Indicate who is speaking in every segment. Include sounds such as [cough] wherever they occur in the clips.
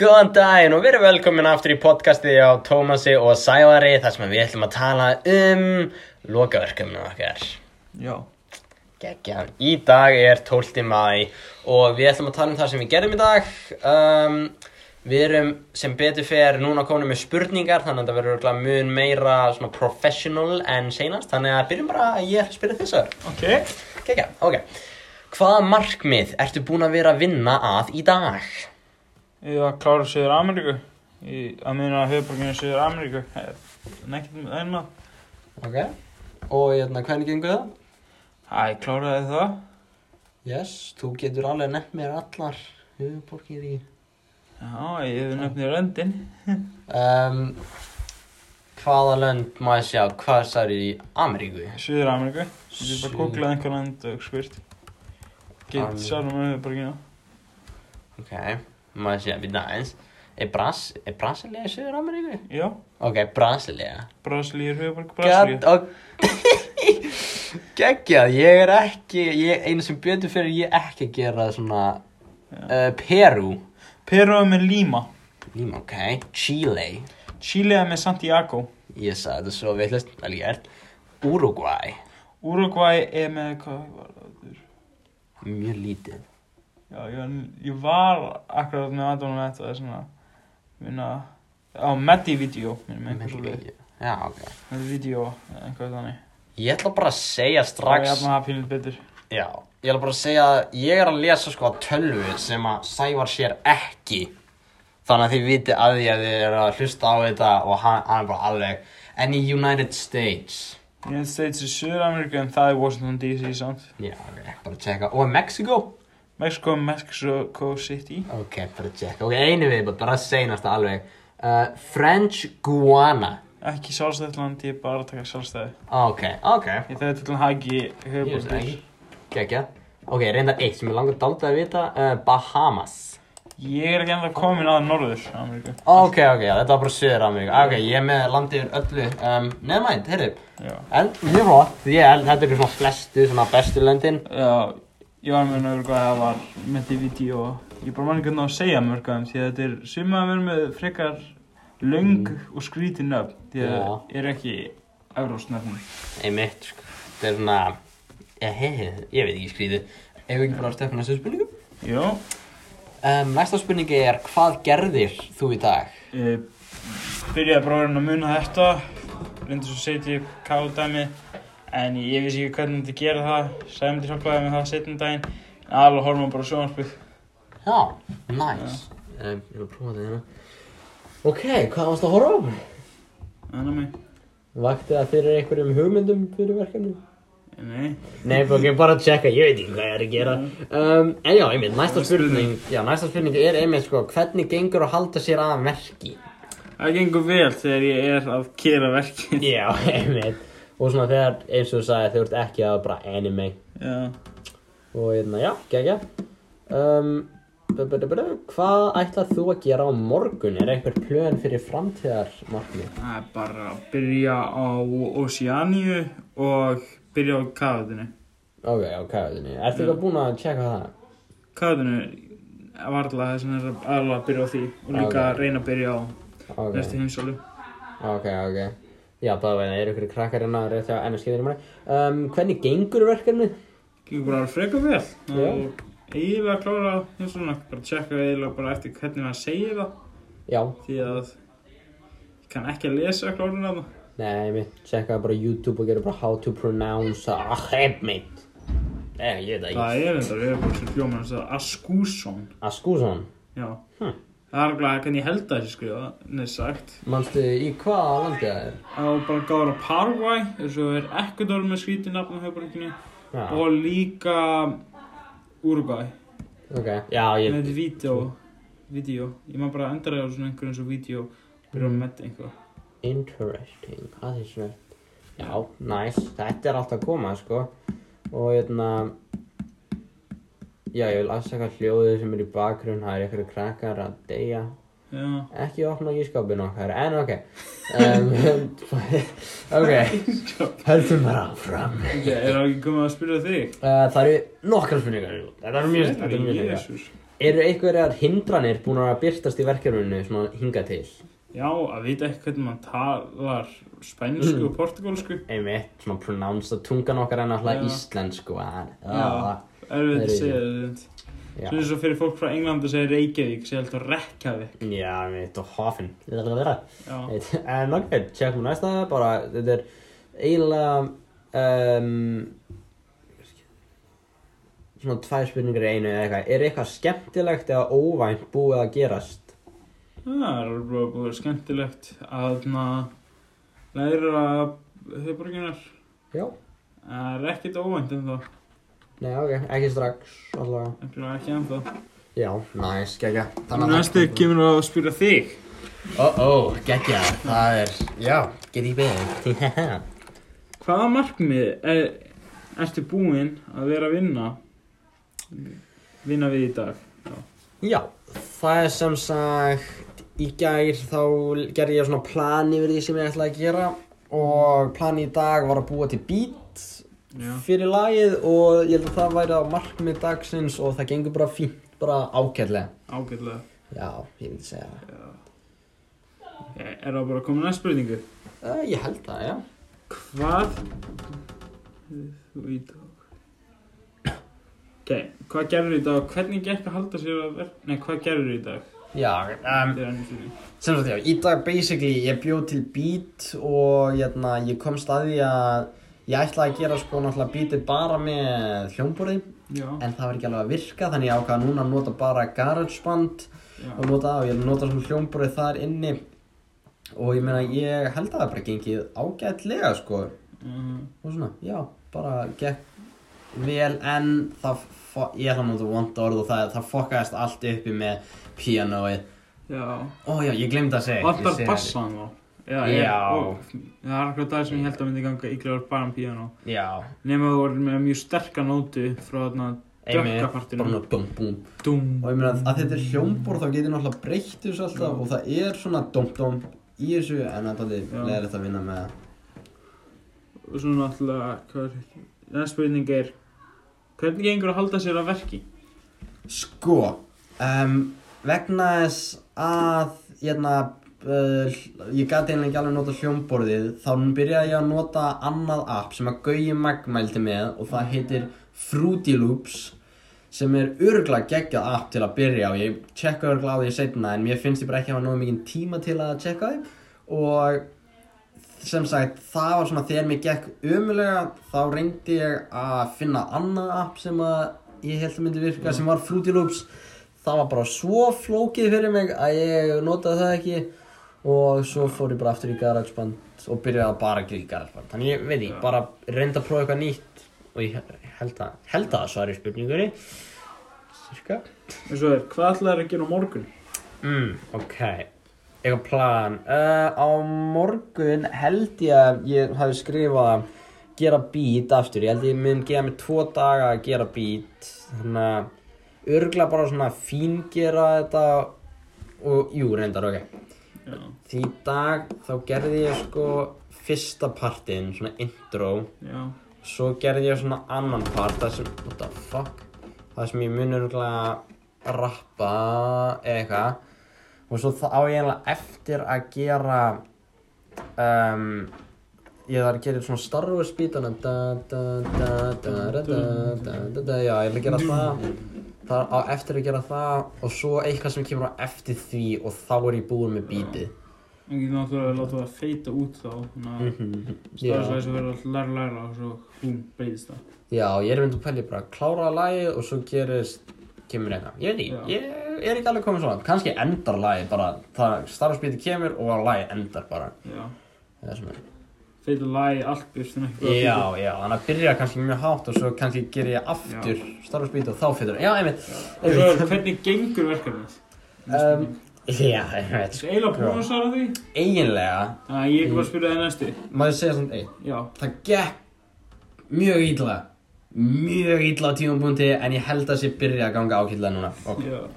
Speaker 1: Góðan daginn og við erum velkomin aftur í podcastið á Tómasi og Sævari þar sem við ætlum að tala um lokaverkefnum okkar.
Speaker 2: Já,
Speaker 1: Gekkjan. Í dag er 12. mæ og við ætlum að tala um það sem við gerðum í dag. Um, við erum sem betur fer núna komin með spurningar þannig að það verður örugglega mun meira svona professional en seinast. Þannig að byrjum bara að ég er að spyrja þessar.
Speaker 2: ok
Speaker 1: Gekkja, ok. Hvaða markmið ertu búin að vera að vinna að í dag?
Speaker 2: Ég var að klára Suður Ameríku í, að minna höfuborginu Suður Ameríku nekkert með einna
Speaker 1: Ok, og hérna, hvernig gengur það?
Speaker 2: Æ, ég kláraði það
Speaker 1: Yes, þú getur alveg nefnt mér allar höfuborgir í
Speaker 2: Já, ég hefði nefnir röndin
Speaker 1: um, Hvaða lönd má ég sjá, hvað sær í Ameríku?
Speaker 2: Suður Ameríku Ég bara googlaði einhver land og skvirt Gilt
Speaker 1: Ameríku.
Speaker 2: sjálf með höfuborginu
Speaker 1: Ok, má ég sjá, við aðeins Er, Bras, er Brasilia í Suður Ameríku?
Speaker 2: Já,
Speaker 1: Ok, Brasilia
Speaker 2: Brasilíu er höfuborg
Speaker 1: Gat-
Speaker 2: Brasilíu
Speaker 1: og- [laughs] Geggjað, ég er ekki, ég, einu sem betur fyrir ég er ekki að gera svona uh, Peru
Speaker 2: Peru er með Lima
Speaker 1: Líma, ok, Chile
Speaker 2: Chile er með Santiago
Speaker 1: Ég sagði þetta svo vitlaust, vel gert. Uruguay,
Speaker 2: Uruguay er með hvað var það aftur?
Speaker 1: mjög lítið.
Speaker 2: Já, ég var, ég var akkurat með aðdónum með þetta, það er svona, minna, á Medivideo, minnum einhver svo leið,
Speaker 1: Já, ok.
Speaker 2: Medivideo, einhver þannig.
Speaker 1: Ég ætla bara að segja
Speaker 2: Strax.
Speaker 1: strax,
Speaker 2: Ég hafði maður pílint betur.
Speaker 1: já, ég ætla bara að segja að ég er að lesa sko að tölvu sem að Sævar sér ekki. Þannig að þið viti að því að þið eru að hlusta á þetta og hann, hann er bara alveg, en í United States.
Speaker 2: United States er Suður-Ameríku en það er Washington DC samt.
Speaker 1: Já, ok, bara að tjekka. Og Mexico?
Speaker 2: Mexico, Mexico City.
Speaker 1: Ok, bara að tjekka. Ok, einu við, bara að segjast það alveg. Uh, French Guiana.
Speaker 2: Ekki sjálfstætt land, ég er bara að taka sjálfstæði.
Speaker 1: Ok, ok.
Speaker 2: Ég þegar til hann hagi höfbúrður.
Speaker 1: Kekja. Ok, reyndar eitt sem ég langar dálta að vita, uh, Bahamas.
Speaker 2: Ég er ekki enda komin að Norður-Ameríku.
Speaker 1: Ok, ok, já, þetta var bara Suður Ameríka. Ok, ég er með landið yfir öllu. Um, Nefnænt, heyrðu,
Speaker 2: Já.
Speaker 1: en mjög flott, ég held þetta eru svona flestu, svona bestu löndin.
Speaker 2: Já, ég var með nörgur hvað það var með því vídeo og ég bara mann ekki að ná að segja mörg af þeim því að þetta er suma að vera með frekar löng og skrítin nöfn því að
Speaker 1: Já.
Speaker 2: það er ekki evróst nöfn.
Speaker 1: Einmitt, sko, þetta er svona, ég, hei, hei, ég veit ekki skrítið. Ef ekki bara að stefna þessu spurningum.
Speaker 2: Jó,
Speaker 1: Um, næsta spurning er, hvað gerðir þú í dag?
Speaker 2: e, byrjaði bara að vera að muna þetta, reyndi svo setja ég káðdæmi en ég vissi ekki hvernig þetta gera það, sæmdi hjálpaði með það setjum daginn en alveg horfum við bara á sjónarspið.
Speaker 1: Já, nice. Um, ég var að prófa þetta hérna. Ok, hvað varst að horfa á?
Speaker 2: Þannig að mig,
Speaker 1: Vakti það fyrir einhverjum hugmyndum fyrir verkefni?
Speaker 2: nei,
Speaker 1: Nei, ok, bara að checka, ég veit ekki hvað ég er að gera. Um, en já, einmitt, næsta spurning, já, næsta spurning er einmitt, sko, hvernig gengur að halda sér að verki?
Speaker 2: það gengur vel þegar ég er að gera verkið.
Speaker 1: Já, [laughs] einmitt. Og svona þegar, eins og þú sagði, þú ert ekki að bara anime.
Speaker 2: Já.
Speaker 1: Og hérna, já, gegja. Um, bu- bu- bu- bu- hvað ætlar þú að gera á morgun? Er einhver plön fyrir framtíðarmarkmið?
Speaker 2: Það er bara að byrja á Oceaníu og byrja á kafadinu.
Speaker 1: Ok, já, kæðinni. Ertu eitthvað búin að checka það?
Speaker 2: Kafadinu var alltaf þess að það er alveg að byrja á því og líka
Speaker 1: Ah, Ok.
Speaker 2: að reyna að byrja á
Speaker 1: Ok.
Speaker 2: næstu heimsólu.
Speaker 1: Ok, ok. Já, það var það, eru ykkur krakkar hérna rétt hjá NSG-þeirri manni. Um, hvernig gengur verkefnið?
Speaker 2: Gíkur bara alveg freka vel
Speaker 1: Já.
Speaker 2: og eiginlega að klára heimsóluna. Bara tjekka eiginlega bara eftir hvernig maður segir það
Speaker 1: Já,
Speaker 2: því að ég kann ekki að lesa kláruna þarna.
Speaker 1: nei, mitt, checkaði bara YouTube og gerði bara how to pronounce ah, hef mitt. Nei, ég veit það ekki.
Speaker 2: Það er þetta, við erum bara svo hljóma hans að Askússon.
Speaker 1: Askússon,
Speaker 2: Já.
Speaker 1: Hm.
Speaker 2: Það er alveg hvernig ég held að þessi skrifa, neins sagt.
Speaker 1: manstu í hvaða landi það er?
Speaker 2: Það var bara gáður á Paraguay, eins og er Ecuador með skrítið nafn á höfbrukinni
Speaker 1: Já,
Speaker 2: og líka Uruguay
Speaker 1: ok. Já,
Speaker 2: með
Speaker 1: ég,
Speaker 2: þetta vídeo, vídeo, ég maður bara endur á svona einhverjum eins og vídeo byrja að metta einhver
Speaker 1: interesting, það er svona. Já, nice, þetta er allt að koma, sko. Og hérna, já, ég vil afsaka hljóðið sem er í bakgrunn, það er ykkur krakkar að deyja.
Speaker 2: Já,
Speaker 1: Ekki opna ískapin okkar, en [laughs] ok. Um, ok, höldum bara áfram.
Speaker 2: ok, er það ekki komið að spyrja þig?
Speaker 1: Eh, Uh, það eru nokkar spurningar í lokin. Þetta eru mjög þetta eru mjög spurningar.
Speaker 2: Jésús
Speaker 1: eru einhverjar hindranir búin að byrtast í verkefninu svona hinga til?
Speaker 2: Já, að vita ekki hvernig maður talar spænsku
Speaker 1: Mm.
Speaker 2: og portugalsku.
Speaker 1: Einmitt, svona pronounce að tungan okkar er náttúrulega
Speaker 2: Já.
Speaker 1: íslensku að
Speaker 2: Erfitt
Speaker 1: er
Speaker 2: að
Speaker 1: í-
Speaker 2: segja þetta.
Speaker 1: Já.
Speaker 2: Svo eins og fyrir fólk frá England að segja Reykjavík, segja alltaf Reykjavík.
Speaker 1: Já, einmitt, og hofin Þetta er að vera
Speaker 2: Já,
Speaker 1: En ok, tjekkum við næsta bara, þetta er eiginlega um, svona tvær spurningar í einu eða eitthvað er eitthvað skemmtilegt eða óvænt búið að gerast?
Speaker 2: það er alveg búið að búið skemmtilegt að þarna læra höfbrugunar.
Speaker 1: Já
Speaker 2: Það er ekkert óvænt um en þá,
Speaker 1: Nei, ok, ekki strax allavega
Speaker 2: ekki ekki en þá.
Speaker 1: Já, næs, geggja
Speaker 2: Næstu kemur að spyrja þig.
Speaker 1: Ó, ó, geggja, það er, já, get ég beðið
Speaker 2: Hvaða markmið er, ertu búinn að vera að vinna vinna við í dag?
Speaker 1: [laughs] Já, það er sem sagt í gær þá gerði ég svona plan yfir því sem ég ætlaði að gera og plan í dag var að búa til beat
Speaker 2: Já.
Speaker 1: fyrir lagið og ég held að það væri á markmið dagsins og það gengur bara fínt, bara ágætlega
Speaker 2: Ágætlega.
Speaker 1: Já, ég myndi segja það
Speaker 2: Er er það bara að koma næst spurningu?
Speaker 1: uh, Ég held það, já
Speaker 2: Hvað þú í dag? Ok, hvað gerður í dag? Hvernig gekk að halda sér að verð? Nei, hvað gerður í dag?
Speaker 1: Já, um,
Speaker 2: Þetta er ennum spurning.
Speaker 1: sem sagt já, í dag basically ég bjóð til beat og hérna, ég kom staði að ég ætlaði að gera sko náttúrulega beatið bara með hljómborðið
Speaker 2: Já,
Speaker 1: en það var ekki alveg að virka þannig ég ákvað að núna að nota bara GarageBand
Speaker 2: já.
Speaker 1: og nota það og ég nota svona hljómborðið þar inni og ég meina ég held að það bara gengið ágætlega sko og
Speaker 2: mhm,
Speaker 1: svona, já, bara gekk vel en það fo- ég ætla að nota vond orð og það, það fokkaðist allt uppi með píanóið
Speaker 2: Já,
Speaker 1: ó já, ég glemd að segja ég
Speaker 2: vantar
Speaker 1: segi-
Speaker 2: bassan þá. Já,
Speaker 1: Já.
Speaker 2: og- það er eitthvað dag sem ég held að myndi ganga ykkur bara um piano.
Speaker 1: já,
Speaker 2: Nefnum að þú voru með mjög sterka nótu frá þarna
Speaker 1: einmitt,
Speaker 2: dökka
Speaker 1: bara
Speaker 2: partinu.
Speaker 1: svona bum bum
Speaker 2: Dúm.
Speaker 1: og ég meina að þetta er hljómborð þá getur náttúrulega breytt þessu alltaf og það er svona dum dum í þessu en það er
Speaker 2: Já.
Speaker 1: leðilegt að vinna með það
Speaker 2: Og svo náttúrulega, hvað er þetta? Næst spurning er, hvernig gengur að halda sér að verki?
Speaker 1: Sko, um, vegna þess að hérna, uh, ég gæti einlega ekki alveg nota hljómborðið þá byrjaði ég að nota annað app sem að Gauji Magmældi með og það heitir Fruity Loops sem er örgla geggjað app til að byrja og ég tjekka örgla á því setna en mér finnst ég bara ekki hafa nógu mikið tíma til að tjekka því og sem sagt, það var svona þegar mér gekk umulega, þá reyndi ég að finna annað app sem að ég held að myndi virka, sem var Fruity Loops það var bara svo flókið fyrir mig að ég notaði það ekki og svo fór ég bara aftur í GarageBand og byrjaði að bara gera í GarageBand þannig ég veit ég, bara reyndi að prófa eitthvað nýtt og ég held að, held að svari spurningunni cirka
Speaker 2: Og svo er, hvað ætlaður að gera á morgun?
Speaker 1: Mm, ok. Eitthvað plan. Uh, á morgun held ég að ég hafi skrifað gera beat aftur. Ég held ég mun gefa mig tvo daga að gera beat. Þannig að örgla bara svona fíngera þetta og jú, reyndar, ok.
Speaker 2: Já,
Speaker 1: Því í dag þá gerði ég sko fyrsta partinn, svona intro.
Speaker 2: já,
Speaker 1: Svo gerði ég svona annan part, það sem, what the fuck, það sem ég mun örgulega rappa eða eitthvað. Og svo þá á ég eiginlega eftir að gera, um, ég þarf að gera svona Star Wars bítana, da da da da da da da da da, já, ég ætla að gera það. Það á eftir að gera það og svo eitthvað sem kemur á eftir því og þá er ég búinn með bítið.
Speaker 2: en getur náttúrulega að láta það feita út þá, þannig
Speaker 1: Mm.
Speaker 2: að staðsvæðis að vera alltaf læra læra og svo hún breyðist það.
Speaker 1: Já, ég er myndið að pælja bara að klára lagið og svo gerist, kemur eitthvað. Ég veit ekki, ég er ekki alveg komið svona. Kannski endar lagið bara, það starfsbítið kemur og lagið endar bara.
Speaker 2: Já,
Speaker 1: Það er sem er.
Speaker 2: feita lagi, allt byrst en ekki
Speaker 1: Já, já, þannig að byrja kannski mjög hátt og svo kannski ger ég aftur starfsbítið og þá fyrir. Já, einmitt.
Speaker 2: Og svo er, hvernig gengur verkefnið?
Speaker 1: Um, [laughs] já, einmitt.
Speaker 2: Það er eiginlega búin að svara því,
Speaker 1: Eiginlega,
Speaker 2: þannig að ég er bara
Speaker 1: Mm.
Speaker 2: að spyrja það næstu.
Speaker 1: maður segja svona eitt.
Speaker 2: Já,
Speaker 1: Það gekk mjög ítla. Mjög ítla á tímapunkti en ég held að sé byrja að ganga ákveðlega núna. Ok.
Speaker 2: Já.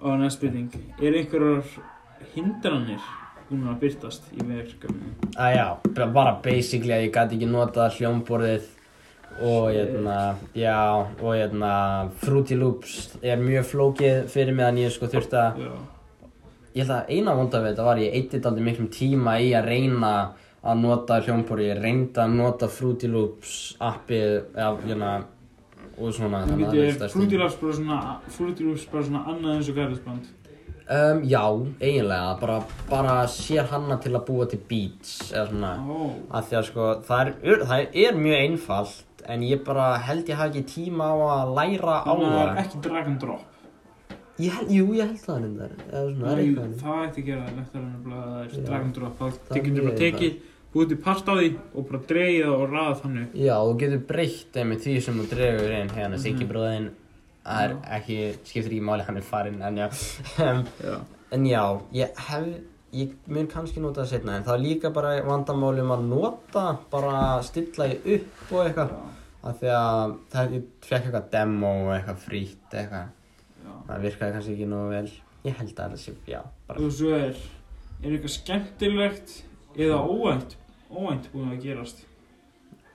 Speaker 2: Og næst spurning. Er einhverjar hindranir búin að byrtast í verkefni?
Speaker 1: að já, bara- bara basically að ég gæti ekki nota hljómborðið og hérna, já, og hérna Fruity Loops er mjög flókið fyrir mig að ég sko þurfti að
Speaker 2: Já.
Speaker 1: ég held að eina vonda við þetta var ég eittit aldrei miklum tíma í að reyna að nota hljómbor, ég reyndi að nota Fruity Loops appið eða, hérna, og svona
Speaker 2: Þú
Speaker 1: þannig að
Speaker 2: getur
Speaker 1: stærsti-
Speaker 2: Fruity Loops bara svona, Fruity Loops bara svona annað eins og gæðisband.
Speaker 1: um, Já, eiginlega, bara, bara sér hanna til að búa til beats eða svona
Speaker 2: Ó,
Speaker 1: að því að sko, það er, það er mjög einfalt en ég bara held ég hafi ekki tíma á að læra á
Speaker 2: þannig að það er
Speaker 1: það
Speaker 2: ekki drag and drop.
Speaker 1: ég held, Jú, ég held það reyndar eða svona, það er
Speaker 2: Nei,
Speaker 1: eitthvað þannig.
Speaker 2: það ætti að gera það lektar en að það er
Speaker 1: Já.
Speaker 2: drag and drop.
Speaker 1: Það
Speaker 2: Það getur
Speaker 1: er
Speaker 2: bara
Speaker 1: mjög
Speaker 2: tekið, búið til part á því og bara dreigið það og raða þannig. upp.
Speaker 1: Já, þú getur breytt einmitt því sem þú dregur inn hérna, Siggi bróðin það er ekki, skiptir ekki máli hann er farinn [laughs] en já Em,
Speaker 2: Já.
Speaker 1: en já, ég hef ég mun kannski nota það setna en það er líka bara vandamálum að nota bara stilla ég upp og eitthvað af því að það, ég fekk eitthvað demo og eitthvað frýtt eitthvað
Speaker 2: Já.
Speaker 1: það virkaði kannski ekki nógu vel ég held að það sé, já, bara
Speaker 2: Og svo er, er eitthvað skemmtilegt eða óvænt, óvænt búin að gerast.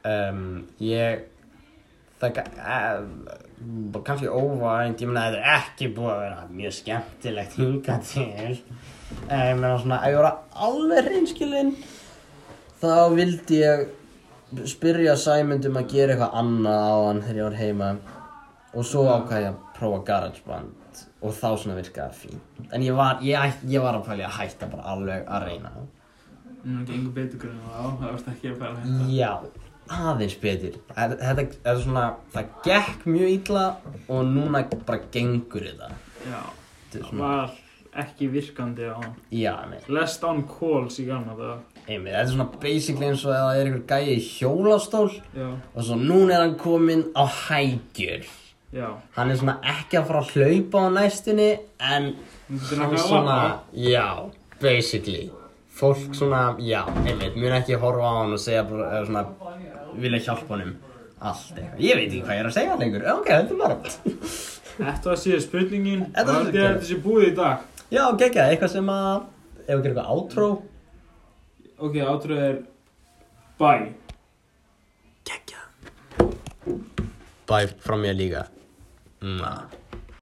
Speaker 1: um, ég það uh, kannski óvænt ég meina þetta er ekki búið að vera mjög skemmtilegt hinga til Eh, ég meina svona, ef ég voru alveg reynskilinn þá vildi ég spyrja Sæmund um að gera eitthvað annað á hann þegar ég var heima og svo ákvað ég að prófa GarageBand og þá svona virkaði það fín en ég var, ég, ætt- ég var að pæli að hætta bara alveg að reyna það
Speaker 2: Núna gengur betur grunn á, það vart ekki að fara að henda.
Speaker 1: Já, aðeins betur. Þetta þetta er svona, það gekk mjög illa og núna bara gengur þetta.
Speaker 2: Já.
Speaker 1: Þetta er
Speaker 2: Það
Speaker 1: svona,
Speaker 2: var ekki virkandi á hann.
Speaker 1: já, nei,
Speaker 2: Less down calls í gamla það.
Speaker 1: einmitt, þetta er svona basically eins og ef það er einhver gæi í hjólastól
Speaker 2: Já.
Speaker 1: og svo núna er hann kominn á hægjur.
Speaker 2: Já.
Speaker 1: Hann er svona ekki að fara að hlaupa á næstunni en
Speaker 2: Þetta er
Speaker 1: hann
Speaker 2: eitthvað að
Speaker 1: svona,
Speaker 2: lappa.
Speaker 1: já, basically. Fólk svona, já, einmitt, mun ekki horfa á hann og segja bara, eða svona, vilja hjálpa honum. Allt eitthvað. Ég veit ekki hvað ég er að segja lengur. Ok, þetta er bara.
Speaker 2: Þetta var síðan spurningin og
Speaker 1: Þetta var
Speaker 2: haldið að
Speaker 1: spurningin.
Speaker 2: þetta sé búið í dag.
Speaker 1: Já, geggjað, eitthvað sem að Ef við gerum eitthvað átró
Speaker 2: Ok, átröð er bye.
Speaker 1: Geggjað Bæ, frá mér líka Mwah.